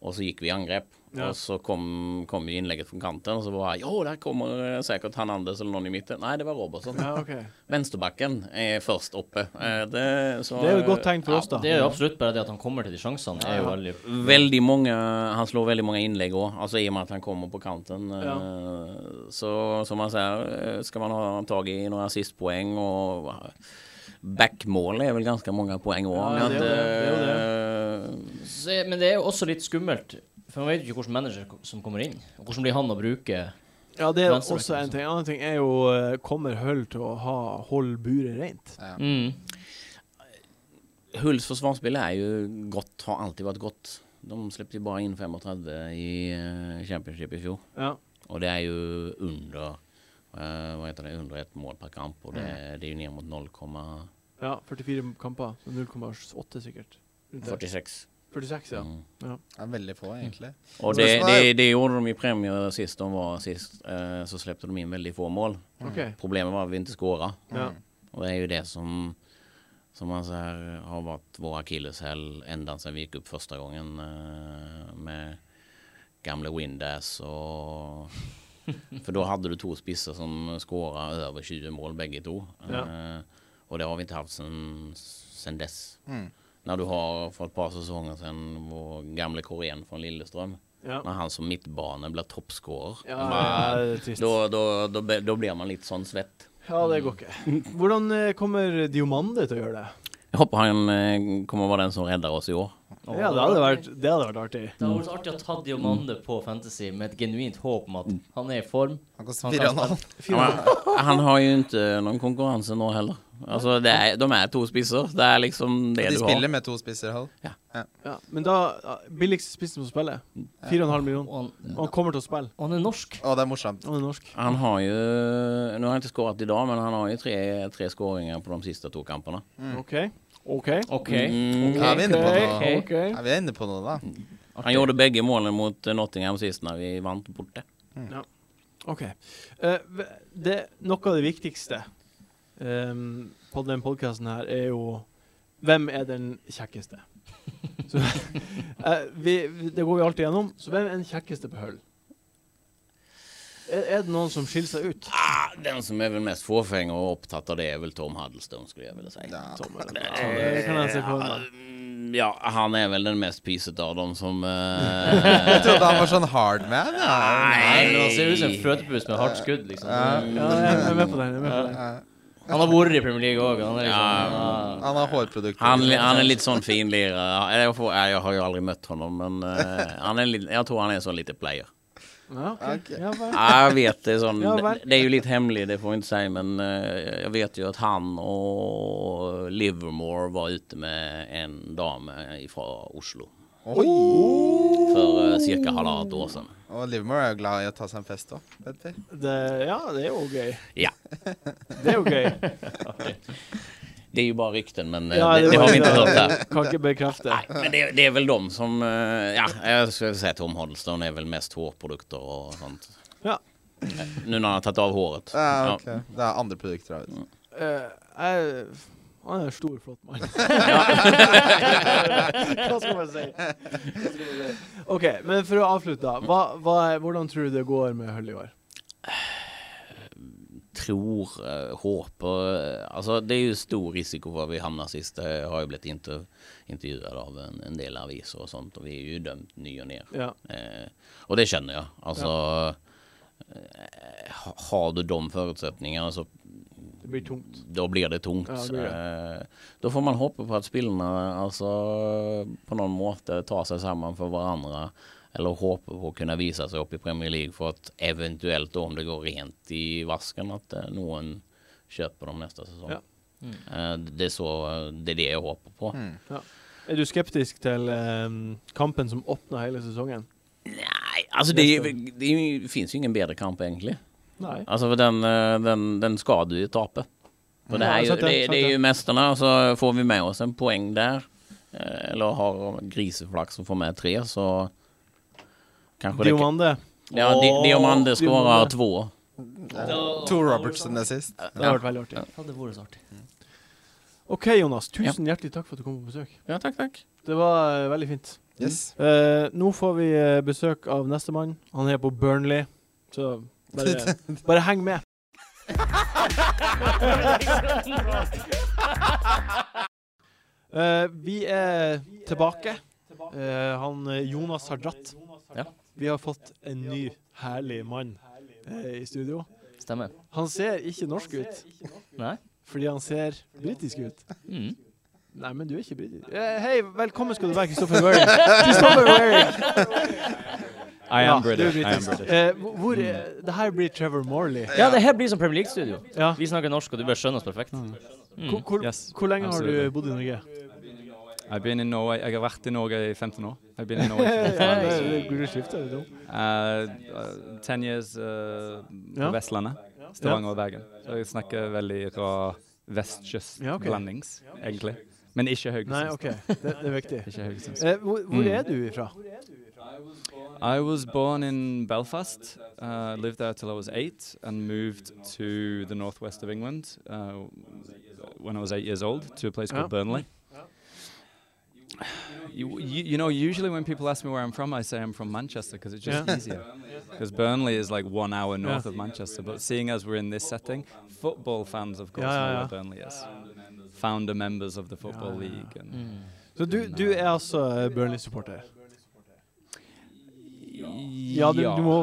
S5: Och så gick vi i angrepp.
S1: Mm. Ja.
S5: Och så kom, kom ju inlägget från kanten och så var ja där kommer eh, säkert Hernandez eller någon i mitten. Nej det var Robertson.
S1: Ja, (laughs) ok.
S5: Vänsterbacken är först uppe. Eh, Det, så,
S1: Det er jo et godt tegn for
S5: Ja,
S1: oss, da.
S2: Det er jo absolutt bare det at han kommer til de sjansene. er jo veldig...
S5: Väldigt många, han slår väldigt många inlägg också, alltså altså i och med att han kommer på kanten. Eh, Så som man säger, eh, ska man ha tag i några assistpoäng och eh, backmål är väl ganska många poäng också.
S1: Ja,
S5: om jag
S1: det är det, det är
S5: eh,
S2: Så, er- men det er jo også litt skummelt, for man vet jo ikke hvilken manager ko- som kommer inn. Og hvordan blir han å bruke
S1: Ja, det er
S2: Venstreback,
S1: også en ting. En annen ting er jo eh, Kommer Hull til å ha holde buret rent?
S2: mm.
S5: Hulls försvarsspel är ju gott, har alltid varit gott. De släppte ju bara in 35 i eh, Championship i fjol.
S1: Ja.
S5: Och det är ju under, eh, vad heter det, under ett mål per kamp. Och det,
S1: Mm.
S5: det är ju ner mot 0,46.
S1: ja 44 kamper. så 0,8 sikkert. Rundt der. 46, ja.
S5: Mm.
S4: Det er veldig få, egentlig.
S5: Och
S4: Så det
S5: det,
S4: som är-
S5: det, det gjorde de i Premier sist de var sist. Eh, så släppte de in väldigt få mål.
S1: OK.
S5: Problemet var att vi inte skårade.
S1: Ja.
S5: Och det är ju det som, som man så här, har varit vår akilleshäl ända sedan vi gick upp första gången eh, med gamla
S4: (laughs)
S5: Windass och... För då hade du två spissar som skårade över 20 mål bägge två.
S1: Ja.
S5: Eh, och det har vi inte haft sedan sen dess.
S4: Mm.
S5: När du har för ett par säsonger sedan vår gamle korean från Lilleström.
S1: Ja.
S5: När han som mittbane blir toppscorer.
S1: Ja,
S5: Man-
S1: ja, det er trist.
S5: Då, då, då, be- då blir man lite sån svett.
S1: Ja, det går ikke. Hvordan eh, kommer Diomande til å gjøre det?
S5: Jag hoppas han eh, kommer vara den som räddar oss i år.
S1: Ja, det hadde vært, det hadde vært artig.
S2: Det hadde vært artig å ta Diomande på Fantasy med et genuint håp om at han er i form.
S4: Han
S2: Han
S4: koster
S2: kan
S4: 4,5.
S5: Han, (laughs) han har eh, ju inte någon konkurrens ändå heller. Alltså det är, de är två spissar. Det är liksom det
S4: De
S5: du har.
S4: spiller med to spisser, Hull.
S1: Ja, men da ja, Billigste spissen som spiller. 4,5
S2: Og
S1: millioner.
S2: han,
S1: Og han kommer til å spille.
S2: og han er norsk.
S4: Å, det er morsomt.
S1: Han er norsk.
S5: Han har ju, nu har han inte skårat idag, men han har ju tre, tre skåringar på de sista två kamperna.
S1: OK. OK.
S2: OK.
S5: Mm.
S4: Ja, vi er inne på noe.
S2: Ok.
S1: OK.
S4: Ja, vi er inne på noe, da.
S5: Han gjorde bägge målen mot eh, Nottingham sist när vi vann borta.
S1: Ok. Eh, v- det, noe av det viktigste ehm, på den podkasten her er jo Hvem er den kjekkeste? Så, (laughs) eh, vi, vi- det går vi alltid gjennom. Så hvem er den kjekkeste på Hull? Er, er det noen som skiller seg ut?
S5: Ah, den som är väl mest fåfäng och upptatt av det är väl Tom Huddleston skulle jag vilja säga.
S4: Ja.
S5: Tom, eh,
S1: Det kan jeg se for meg.
S5: Mm, Ja, han är väl den mest pyset av dem som... eh,
S4: Jeg trodde han var sånn hardman. Ja.
S2: Nei, men
S5: Nej.
S2: Han ser ut som en fløtepus med hardt skudd, liksom.
S1: Ja, jeg jeg er med på den. Jeg er med på den.
S2: Han har vært i Premier League òg. Han er liksom
S5: Ja.
S4: Han har hårprodukter.
S5: Han, han är lite sån fin lirare. Eller Jag, får, nej, jag har ju aldrig mött honom, men eh, han är lite, jag tror han är en sån lite player.
S1: Ja, ok. Ja, bare-
S5: Ja, jag vet, det är, sån,
S1: Ja, verkligen.
S5: det är ju lite hemligt, det får jag inte säga, men eh, jag vet ju att han och Livermore var ute med en dam ifrån Oslo. for uh, ca. halvannet år siden.
S4: Og Livermore er jo glad i å ta seg en fest òg, vet vi.
S1: Det, ja, det er jo gøy.
S5: Ja.
S1: Det er jo gøy.
S5: Det er jo bare rykten, men eh,
S1: Ja,
S5: det, det har vi ikke hørt her.
S1: (laughs) Kan ikke bekrefte.
S5: Nei, men det, det er vel de som eh, Ja, jeg skulle si Tom Hoddleston er vel mest hårprodukter og sånt.
S1: Ja.
S5: Eh, Nå når han har tatt av håret.
S4: Ja, ok. Det er andre produkter av det.
S1: Eh, jeg, han er en stor, flott mann. Hva skal man si? Hva skal man si? OK, men for å avslutte, da. Hva, hva er, hvordan tror du det går med Hull i år?
S5: Tror, eh, håper eh, Altså, det er jo stor risiko for at vi havner sist. Jeg har jo blitt inter, intervjuet av en, en del aviser og sånt, og vi er jo dømt ny og ned.
S1: Ja.
S5: Eh, og det kjenner jeg. Altså eh, ha- Har du de altså, forutsetningene, så
S1: Det blir tungt.
S5: da blir det tungt.
S1: Ja, det blir
S5: Eh, da får man håpe på at spillerne altså, på noen måte tar seg sammen for hverandre. Eller håpe på å kunne vise seg opp i Premier League for at eventuelt, da, om det går rent i vasken, at eh, noen kjøper dem neste sesong.
S1: Ja.
S5: Eh, det, er så, det er det jeg håper
S1: Mm.
S5: på.
S4: Hmm.
S1: Er du skeptisk til eh, kampen som åpna hele sesongen?
S5: Nei, altså det, det, det fins jo ingen bedre kamp, egentlig.
S1: Nei.
S5: Altså, for den, eh, den, den skal du jo tape. For det
S1: Ja,
S5: er jo,
S1: sant det,
S5: det,
S1: sant
S5: det er
S1: det.
S5: jo mesterne, og så får vi med oss en poeng der. Eh, Eller har griseflaks og får med tre, så kanskje det
S1: Diomande.
S5: Ja, Di- Diomande
S1: Åh,
S5: skårer
S1: Diomande.
S5: to.
S4: To Robertson er sist.
S1: Det har vært veldig artig.
S2: Ja, det var så artig.
S1: OK, Jonas. Tusen hjertelig takk for at du kom på besøk.
S5: Ja, takk, takk.
S1: Det var eh, veldig fint.
S4: Yes.
S1: Eh, nå får vi eh, besøk av nestemann. Han er på Burnley, så bare, bare heng med. Eh, vi er tilbake. Eh, han eh, Jonas har dratt.
S5: Ja.
S1: Vi har fått en ny, herlig mann eh, i studio.
S2: Stemmer.
S1: Han ser ikke norsk ut,
S2: Nei?
S1: fordi han ser britisk ut.
S2: Mm.
S1: Nei, men du er ikke britisk. Eh, Hei, velkommen skal du være, (laughs) Christopher Waring. Christopher Waring!
S6: I
S1: Ja,
S6: am
S1: du er
S6: British. I am
S1: britisk.
S6: British. Mm,
S1: Eh, hvor- hvor er, det her blir Trevor Morley.
S2: Ja, det her blir som Premier League-studio.
S1: Ja.
S2: Vi snakker norsk, og du bør skjønne oss perfekt. Mm.
S1: Hvor, hvor,
S6: Yes,
S1: hvor lenge har du
S6: absolutely.
S1: bodd i
S6: (laughs)
S1: Norge?
S6: I've been in Norway. Jeg har vært i Norge i 15 år. I've been in Norway since I was,
S1: Du skifter, er du dum?
S6: uh, uh, 10 years uh,
S1: Ja.
S6: på Vestlandet. Stavanger og Bergen. Så jeg snakker veldig
S1: Ja,
S6: rar
S1: ok.
S6: vestkystblandings, egentlig. Men ikke
S1: Nei,
S6: Haugesund.
S1: OK. Det, det er viktig.
S6: (laughs) Ikke Haugesund.
S1: Eh, hvor hvor
S6: Mm.
S1: er du ifra?
S6: I was born in Belfast, uh, lived there till I was eight, and moved to the northwest of England uh, when I was eight years old to a place called
S1: Yeah.
S6: Burnley. You, you, you know, usually when people ask me where I'm from, I say I'm from Manchester because it's just
S1: Yeah.
S6: easier. Because Burnley is like one hour north of Manchester, but seeing as we're in this setting, football fans, of course,
S1: Yeah, yeah,
S6: know
S1: yeah.
S6: where Burnley is. Founder members of the Football
S1: yeah, Mm. yeah.
S6: League. And
S2: Mm.
S1: Så du, du er altså eh, Burnley-supporter? Ja,
S6: Yeah,
S1: du, du må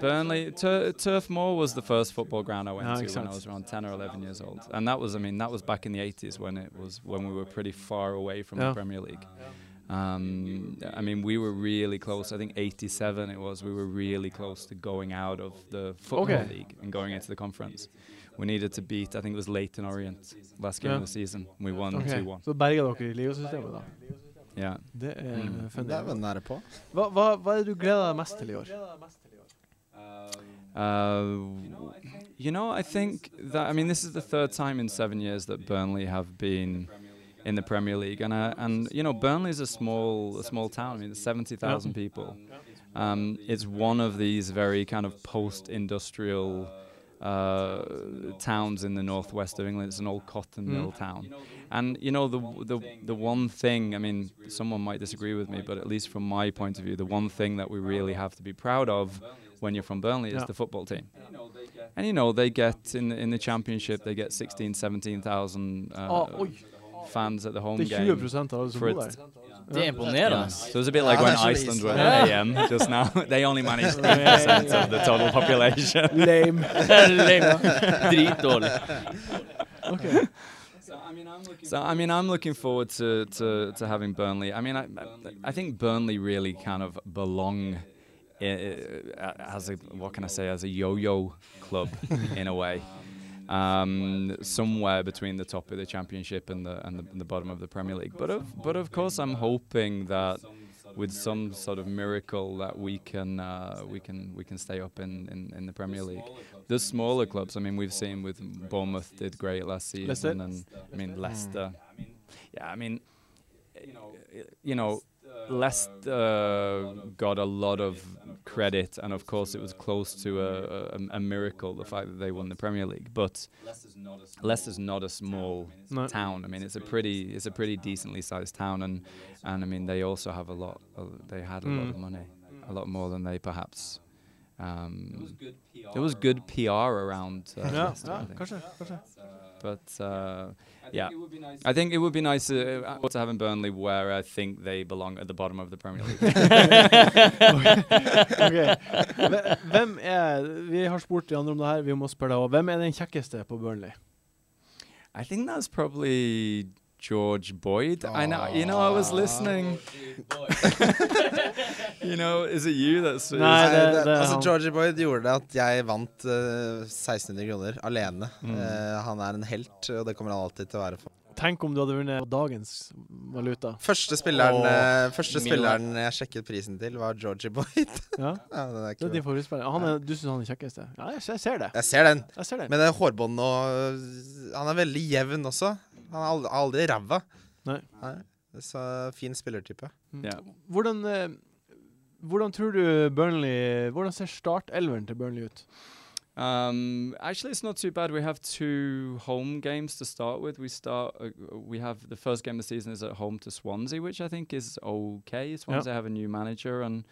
S6: Burnley Tur- Turf Moor was the first football ground I went
S1: Ah,
S6: to when
S1: exact.
S6: I was around 10 or 11 years old, and that was I mean that was back in the 80s when it was when we were pretty far away from
S1: Yeah.
S6: the Premier League. Um, I mean we were really close. I think 87 it was we were really close to going out of the football
S1: Okay.
S6: league and going into the conference. We needed to beat I think it was Leighton Orient last game
S1: Yeah.
S6: of the season. We won
S1: OK.
S6: 2-1.
S1: Så berga dere ligasystemet, da.
S6: Yeah.
S1: Det er
S6: Mm.
S1: funny.
S4: Det er vel nære på.
S1: Hva, hva, hva er det du gleder deg mest til i år?
S6: Uh, you know, I think that I mean this is the third time in seven years that Burnley have been in the Premier League, and uh, and you know Burnley is a small a small town. I mean, there's seventy thousand people. Um, it's one of these very kind of post-industrial uh, towns in the northwest of England. It's an old cotton mill town, and you know the the the one thing. I mean, someone might disagree with me, but at least from my point of view, the one thing that we really have to be proud of when you're from Burnley is
S1: Yeah.
S6: the football team. And you know they get in in the championship they get 16, 17,000 uh,
S1: Ah, oi,
S6: fans at the home
S1: det er
S6: game.
S1: 20 av alle som
S6: for
S1: bor
S6: it-
S1: der.
S2: Det er imponerende.
S6: Yeah. So it's a bit like
S4: Ah,
S6: when
S4: that's really
S6: Iceland
S4: easy.
S6: were
S1: Yeah.
S6: AM just
S4: (laughs)
S6: now. they only managed 3% of the total population.
S1: Lame.
S2: Dritdårlig.
S6: So I mean, I'm looking forward to, to, to having Burnley. I mean, I, I think Burnley really kind of belong i- i- as a what can I say as a yo-yo club in a way, um, somewhere between the top of the Championship and the and the, and the bottom of the Premier League. But of but of course, I'm hoping that. with some sort of miracle that we can uh, we can we can stay up in, in, in the Premier League. The smaller clubs, I mean, we've seen with Bournemouth did great last season,
S1: Leicester?
S6: and I mean Leicester. Yeah, I mean, you know, Leicester uh, got a lot of credit, and of course, it was close to a, a, a miracle the fact that they won the Premier League. But Leicester's not a small
S1: No.
S6: town. I mean, it's a pretty it's a pretty decently sized town, and and I mean, they also have a lot. Of, they had a lot of
S1: Mm.
S6: money, a lot more than they perhaps. Um, there was good PR around uh,
S1: Ja,
S6: Leicester,
S1: ja
S6: I think.
S1: kanskje. kanskje.
S6: But uh, yeah, I think it would be nice uh, uh, to have in Burnley where I think they belong at the bottom of the Premier League.
S1: Ok. Hve- Hvem er Vi har spurt de andre om det her, vi må spørre deg òg. Hvem er den kjekkeste på Burnley?
S6: I think that's probably George Boyd. I know, you know, I was listening. (laughs) you know, is it you that's? is-
S1: Nei, det-
S4: det,
S1: det er
S4: altså
S1: han.
S4: Georgie Boyd gjorde det at jeg vant eh, 1600 kroner alene.
S6: Mm.
S4: Eh, han er en helt, og det kommer han alltid til å være. For.
S1: Tenk om du hadde vunnet på dagens valuta.
S4: Første spilleren, eh, første
S6: Milo.
S4: spilleren jeg sjekket prisen til, var Georgie Boyd.
S1: Ja,
S4: (laughs) ja, den er
S1: det er
S4: kul.
S1: din favorittspiller. Han er, du syns han er kjekkeste? Ja, jeg, jeg ser det.
S4: Jeg ser den.
S1: Jeg ser det.
S4: Med det hårbåndet og eh, Han er veldig jevn også. Han er aldri, aldri ræva.
S1: Nei.
S4: Så fin spillertype.
S6: Yeah.
S1: Mm. Hvordan, eh, hvordan tror du Burnley Hvordan ser startelveren til Burnley ut?
S6: Um, actually, it's not too bad. We have two home games to start with. We start. Uh, we have the first game of the season is at home to Swansea, which I think is okay. Swansea have a new manager and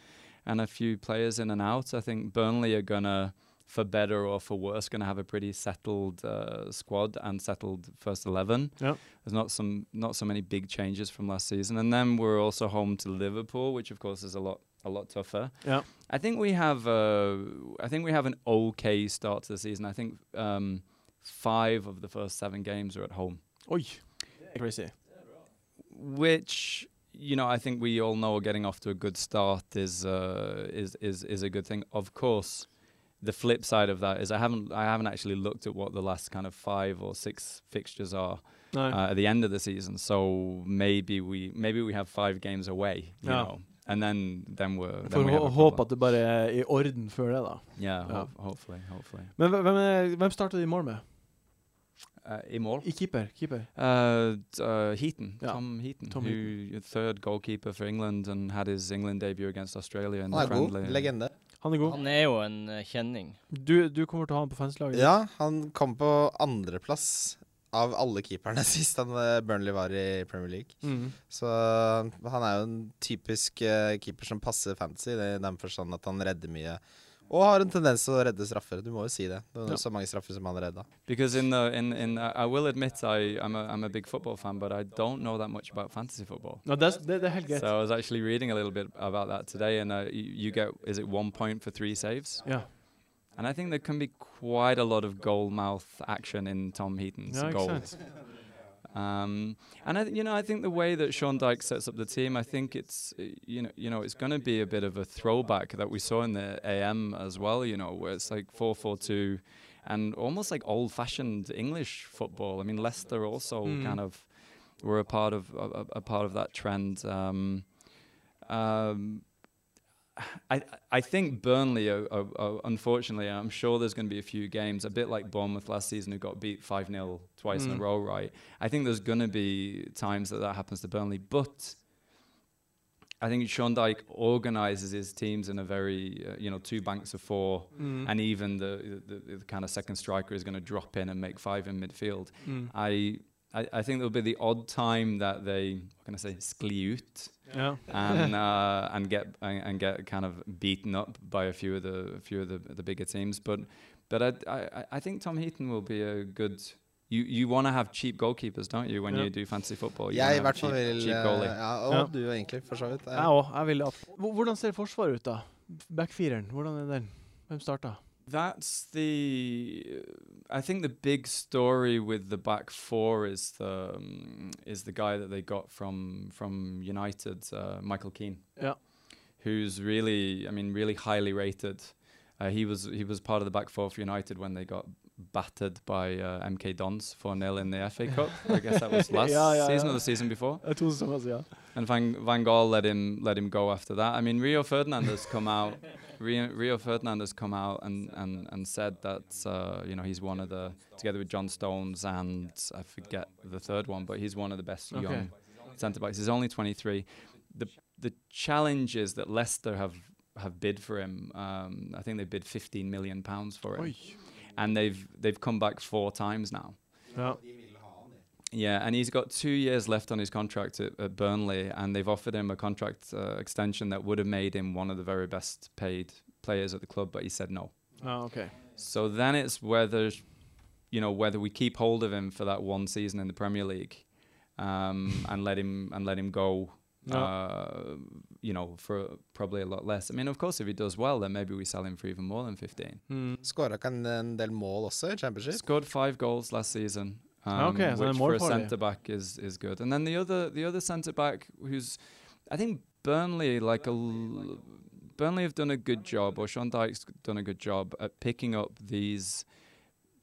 S6: and a few players in and out. I think Burnley are gonna, for better or for worse, gonna have a pretty settled uh, squad and settled first eleven.
S1: Yeah.
S6: There's not some not so many big changes from last season, and then we're also home to Liverpool, which of course is a lot a lot tougher.
S1: Ja.
S6: I think we have uh, I think we have an okay start to the season. I think um, five of the first seven games are at home,
S1: Oi. Crazy.
S6: which you know I think we all know getting off to a good start is uh, is is is a good thing. Of course, the flip side of that is I haven't I haven't actually looked at what the last kind of five or six fixtures are
S1: Nei.
S6: uh, at the end of the season. So maybe we maybe we have five games away, you
S1: Yeah.
S6: know, and then then we're then
S1: For
S6: we have
S1: å
S6: a
S1: håpe
S6: problem.
S1: at det bare er i orden før det, da.
S6: yeah,
S1: Yeah.
S6: ho- hopefully hopefully
S1: Men hve- hvem, er, hvem starter de i mål med?
S6: uh, i mål.
S1: I keeper? keeper.
S6: Uh, d- uh, Heaton,
S1: Yeah.
S6: Tom Heaton,
S1: Tom
S6: who third goalkeeper for England and had his England debut against Australia in
S4: Han
S6: the
S4: er god.
S6: friendly.
S4: Legende.
S1: Han er god.
S2: Han er jo en eh, kjenning.
S1: Du, du kommer til å ha han på fanslaget?
S4: Ja, han kom på andreplass av alle keeperne (laughs) sist han eh, Burnley var i Premier League.
S1: Mm.
S4: Så han er jo en typisk eh, keeper som passer fancy, i den forstand at han redder mye. Og har en tendens til å redde straffer. Du må jo si det. Det var
S1: Ja.
S4: så mange straffer som han redda.
S6: Because in the in in uh, I will admit I I'm a I'm a big football fan, but I don't know that much about fantasy football.
S1: Ja, det, er s- det, det er helt greit.
S6: So I was actually reading a little bit about that today, and uh, you, you get is it one point for three saves?
S1: Ja.
S6: And I think there can be quite a lot of goal mouth action in Tom Heaton's
S1: ja, ikke
S6: goal.
S1: sant?
S6: Um, and I, th- you know, I think the way that Sean Dyke sets up the team, I think it's uh, you know, you know, it's going to be a bit of a throwback that we saw in the AM as well. You know, where it's like four four two, and almost like old-fashioned English football. I mean, Leicester also
S1: Mm.
S6: kind of were a part of a, a- a part of that trend. Um, um, I I think Burnley, are, are, are, unfortunately, I'm sure there's going to be a few games, a bit like Bournemouth last season, who got beat five 0 twice in
S1: Mm.
S6: a row. Right? I think there's going to be times that that happens to Burnley, but. I think Sean Dyke organizes his teams in a very, uh, you know, two banks of four,
S1: Mm.
S6: and even the, the, the kind of second striker is going to drop in and make five in midfield.
S1: Mm.
S6: I, I, I think there'll be the odd time that they, what can I say, skli ut
S1: Ja.
S6: and uh, and get and, and get kind of beaten up by a few of the a few of the, the bigger teams. But but I, I I think Tom Heaton will be a good. You you want to have cheap goalkeepers, don't you? When
S1: Yeah.
S6: you do fantasy football, you
S4: Jeg i
S6: wanna have
S4: hvert fall vil
S6: cheap
S4: eh,
S6: goalie.
S4: ja, Og
S1: Ja.
S4: du egentlig, for så vidt.
S1: Jeg òg. Jeg vil at Hvor- Hvordan ser forsvaret ut, da? Backfireren, hvordan er den? Hvem starta?
S6: That's the. I think the big story with the back four is the um, is the guy that they got from from United, uh, Michael Keane.
S1: Ja.
S6: who's really, I mean, really highly rated. Uh, he was he was part of the back four for United when they got battered by uh, MK Dons 4 0 in the FA Cup. I guess that was last
S1: (laughs) Yeah, yeah,
S6: season
S1: yeah.
S6: or the season before.
S1: Jeg tror det samme, ja.
S6: and Van, Van Gaal let him let him go after that. I mean, Rio Ferdinand has come
S1: (laughs)
S6: out. Rio, Rio Ferdinand has come out and, and, and said that uh, you know he's one of the together with John Stones and I forget the third one, but he's one of the best
S1: Okay.
S6: young centre backs. He's only 23. The the challenge is that Leicester have have bid for him. Um, I think they bid 15 million pounds for him,
S1: Oi.
S6: and they've they've come back four times now.
S1: Ja.
S6: Yeah, and he's got two years left on his contract at, at Burnley, and they've offered him a contract uh, extension that would have made him one of the very best paid players at the club, but he said no.
S1: Ah, OK.
S6: So then it's whether, you know, whether we keep hold of him for that one season in the Premier League, um, and let him and let him go,
S1: Ja.
S6: uh, you know, for probably a lot less. I mean, of course, if he does well, then maybe we sell him for even more than fifteen.
S1: Mm.
S4: Skåra ikke en, en del mål også i Championship?
S6: Scored five goals last season. Um,
S1: Okay, so they're
S6: which
S1: more
S6: for a
S1: for you.
S6: centre back is is good. And then the other the other centre back who's, I think Burnley like a l- Burnley have done a good job, or Sean Dyke's done a good job at picking up these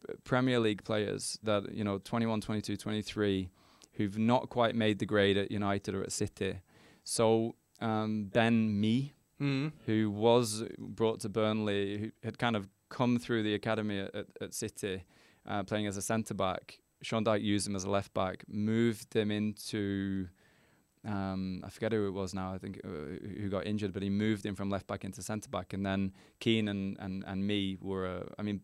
S6: uh, Premier League players that you know 21, 22, 23, who've not quite made the grade at United or at City. So um, Ben Mee,
S1: Mm.
S6: who was brought to Burnley, who had kind of come through the academy at, at, at City, uh, playing as a centre back. Sean Dyke used him as a left back, moved him into. Um, I forget who it was now. I think uh, who got injured, but he moved him from left back into centre back, and then Keane and and and me were. Uh, I mean,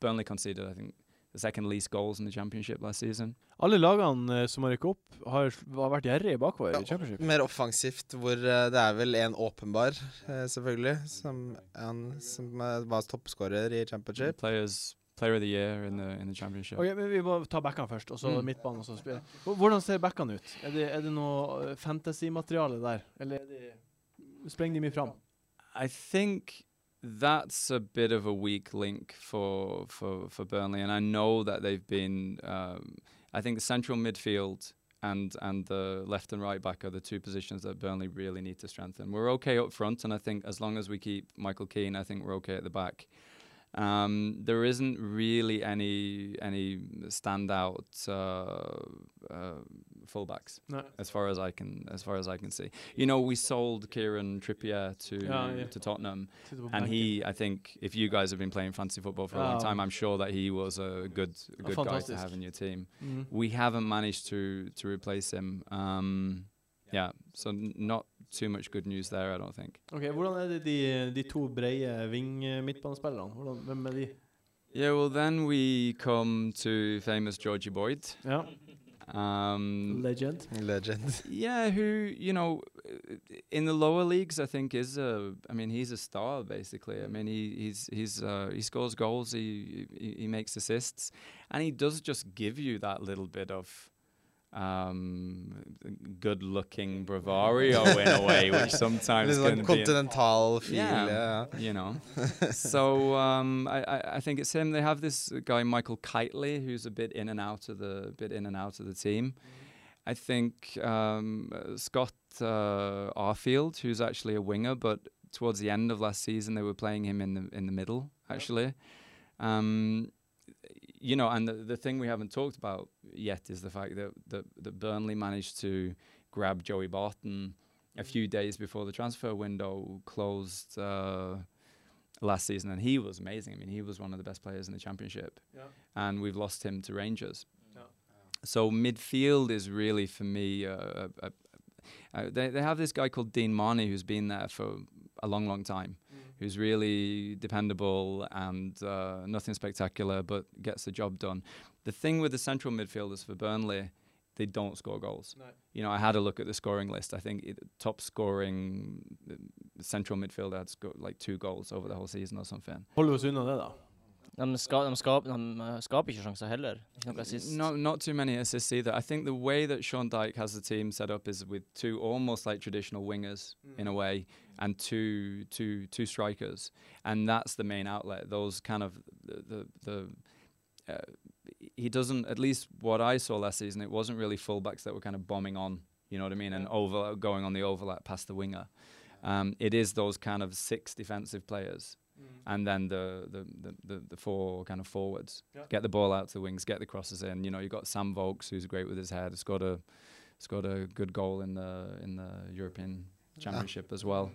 S6: Burnley conceded I think the second least goals in the championship last season.
S1: Alle lagene eh, som har rykket opp, har, har vært gjerrige bakover
S4: Ja.
S1: i Championship.
S4: Mer offensivt, hvor eh, det er vel en åpenbar, eh, selvfølgelig, som, han, som eh, var toppskårer i Championship.
S6: Players Player of the Year in the in the championship.
S1: Ok, men Vi må ta backene først, og så
S6: Mm.
S1: midtbanen. Og så spille. Hv- Hvordan ser backene ut? Er det, er det noe eh, fantasy-materiale der? Eller er det sprenger de mye fram?
S6: I think that's a bit of a weak link for for for Burnley, and I know that they've been. Um, I think the central midfield and and the left and right back are the two positions that Burnley really need to strengthen. We're okay up front, and I think as long as we keep Michael Keane, I think we're okay at the back. Um, there isn't really any any standout uh, uh, fullbacks
S1: Nei.
S6: as far as I can as far as I can see. You know, we sold Kieran Trippier to
S1: Yeah, yeah.
S6: to Tottenham,
S1: Sitter på
S6: and
S1: benken.
S6: he, I think, if you guys have been playing fantasy football for a long
S1: Oh.
S6: time, I'm sure that he was a good a good guy to
S1: fantastisk.
S6: have in your team.
S1: mm.
S6: We haven't managed to to replace him. Um, yeah, so n- not too much good news there, I don't think.
S1: Ok, Hvordan er det de, de to breie ving-midtbanespillerne? Hvordan- Hvem er de?
S6: Yeah, well, then we come to famous Georgie Boyd.
S1: Ja,
S6: Um,
S1: Legend.
S4: Legend.
S6: Yeah, who you know, in the lower leagues, I think is a. I mean, he's a star basically. I mean, he he's he's uh, he scores goals, he, he he makes assists, and he does just give you that little bit of um good-looking bravario in a way, which sometimes
S4: Litt
S6: can
S4: sånn
S6: be an
S4: kontinental feel.
S6: Yeah.
S4: Ja.
S6: you know. so um, I, I, I think it's him. They have this guy Michael Kitely, who's a bit in and out of the bit in and out of the team. I think um, uh, Scott uh, Arfield, who's actually a winger, but towards the end of last season they were playing him in the in the middle actually. Um, you know, and the, the thing we haven't talked about yet is the fact that that, that Burnley managed to grab Joey Barton a few days before the transfer window closed uh, last season, and he was amazing. I mean, he was one of the best players in the championship,
S1: Yeah.
S6: and we've lost him to Rangers.
S1: Yeah.
S6: So midfield is really for me. Uh, a, a, uh, they they have this guy called Dean Marnie who's been there for a long, long time,
S1: Mm.
S6: who's really dependable and uh, nothing spectacular, but gets the job done. The thing with the central midfielders for Burnley, they don't score goals you know, I had a look at the scoring list. I think it, top scoring uh, central midfielder had scored like two goals over the whole season or something.
S1: Holder oss unna det, da.
S2: De, ska, de, skap, de eh, skaper ikke sjanser heller. Ikke noe assist.
S6: Not not too many assists either. I think the way that Sean Dyke has the team set up is with two almost like traditional wingers
S1: Mm.
S6: in a way, and two two two strikers, and that's the main outlet. Those kind of the the. the uh, he doesn't, at least what I saw last season, it wasn't really fullbacks that were kind of bombing on, you know what I mean, and over going on the overlap past the winger. Um, it is those kind of six defensive players,
S1: Mm.
S6: and then the the, the, the the four kind of forwards
S1: Yeah.
S6: get the ball out to the wings, get the crosses in. You know, you have got Sam Volks who's great with his head, scored a scored a good goal in the in the European Championship as well.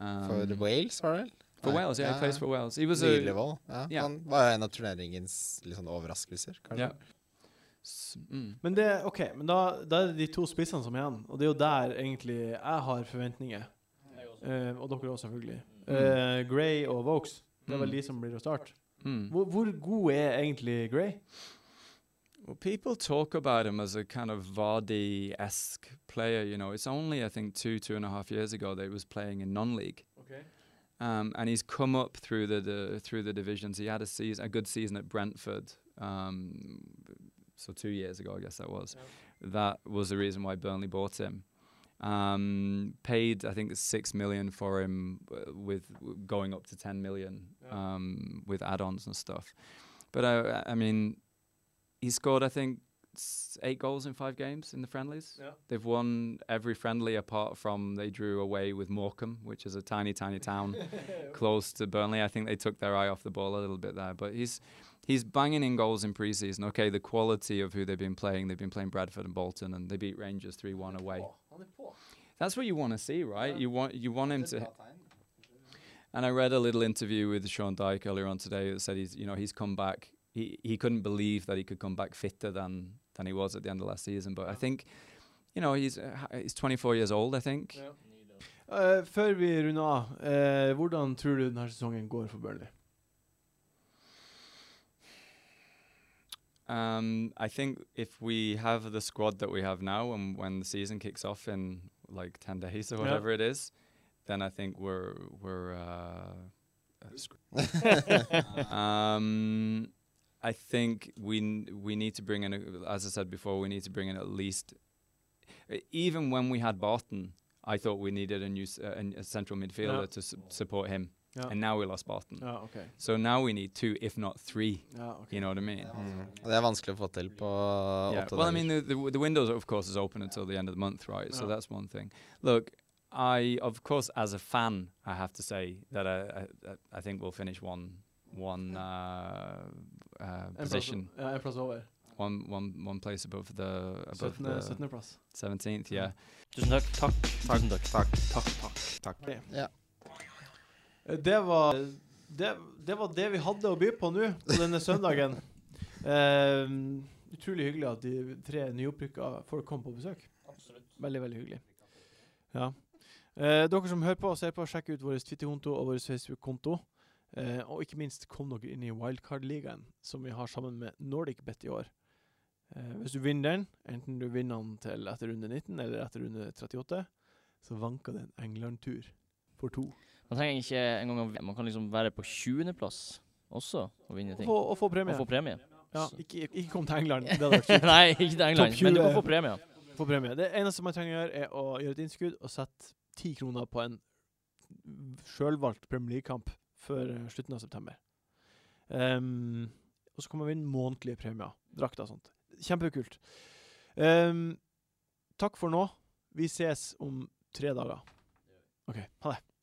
S6: Um,
S4: For Wales, Ah. var det vel?
S6: for
S4: Nei,
S6: Wales, yeah, he plays for Wales. He was a
S4: Myhrvold. Ja.
S6: ja.
S4: Han var jo en av turneringens litt sånn overraskelser, kanskje.
S6: yeah. S- mm.
S1: Men det, ok, men da, da er det de to spissene som er igjen, og det er jo der egentlig jeg har forventninger. Eh, og dere også, selvfølgelig. Eh, Gray og Vokes, det er vel
S6: Mm.
S1: de som blir å starte.
S6: Mm.
S1: Hvor, hvor god er egentlig Gray?
S6: Well, people talk about him as a kind of Vardy esque player. You know, it's only I think two, two and a half years ago that he was playing in non-league, um, and he's come up through the, the through the divisions. He had a season, a good season at Brentford, um, so two years ago, I guess that was. That was the reason why Burnley bought him. Um, paid, I think, six million for him, uh, with w- going up to ten million um, with add-ons and stuff. But I, I mean, he scored, I think, s- eight goals in five games in the friendlies.
S1: Yeah.
S6: They've won every friendly apart from they drew away with Morecambe, which is a tiny, tiny town close to Burnley. I think they took their eye off the ball a little bit there, but he's. He's banging in goals in preseason. Okay, the quality of who they've been playing. They've been playing Bradford and Bolton, and they beat Rangers three one away. That's what you want to see, right? You want you want him to. And I read a little interview with Sean Dyke earlier on today that said he's you know he's come back. He he couldn't believe that he could come back fitter than than he was at the end of last season. But I think, you know, he's uh, h- he's 24 years old. I think.
S1: Eh, før vi runder av, eh, hvordan tror du denne sesongen går for Burnley?
S6: Um, I think if we have the squad that we have now, and when the season kicks off in like 10 days or
S1: Yeah.
S6: whatever it is, then I think we're we're. Uh, (laughs) um, I think we n- we need to bring in, a, as I said before, we need to bring in at least, e- even when we had Barton, I thought we needed a new s- uh, an- a central midfielder to su- support him,
S1: Ja,
S6: and now we lost Barton.
S1: ja ok.
S6: So now we need two, if not three.
S1: Ja, ok.
S6: You know what I mean?
S4: Mm. Og Det er vanskelig å få til på
S6: Yeah.
S4: åtte
S6: Well, I
S4: dager.
S6: mean, the, the w- the windows, of course, is open until the end of the month, right? So
S1: Yeah.
S6: that's one thing. Look, I, of course, as a fan, I have to say that I, I, I- I think we'll finish one, one uh, uh,
S1: En plass,
S6: position,
S1: ja, en plass over.
S6: one, one, one place above the above
S1: 17.
S6: the
S1: 17. plass.
S6: seventeenth. Yeah.
S2: Tusen takk. Takk. Tusen takk.
S4: Takk.
S1: Eh, Det var det, det var det vi hadde å by på nå, på denne søndagen. Eh, utrolig hyggelig at de tre nyopprykka folk kom på besøk. Veldig, veldig hyggelig. Ja. Eh, dere som hører på og ser på, sjekk ut vår Twitter-konto og vår Facebook-konto. Eh, og ikke minst, kom dere inn i Wildcard-ligaen, som vi har sammen med NordicBet i år. Eh, hvis du vinner den, enten du vinner den til etter runde 19 eller etter runde 38, så vanker det en England-tur for to.
S2: Man trenger ikke engang å Man kan liksom være på 20.-plass også og vinne
S1: Og
S2: ting.
S1: få, og få premie.
S2: Og få premie.
S1: Ja,
S2: Så-
S1: ikke, ikke kom til England. Det hadde
S2: (laughs)
S1: vært sykt.
S2: Nei, ikke til England,
S1: Topp
S2: men du
S1: 20.
S2: kan få premie.
S1: Få premie. Det eneste man trenger å gjøre, er å gjøre et innskudd og sette ti kroner på en sjølvalgt Premier League-kamp før eh, slutten av september. Ehm, og så kan man vinne månedlige premier. Drakter og sånt. Kjempekult. Ehm, takk for nå. Vi ses om tre dager. OK. Ha det.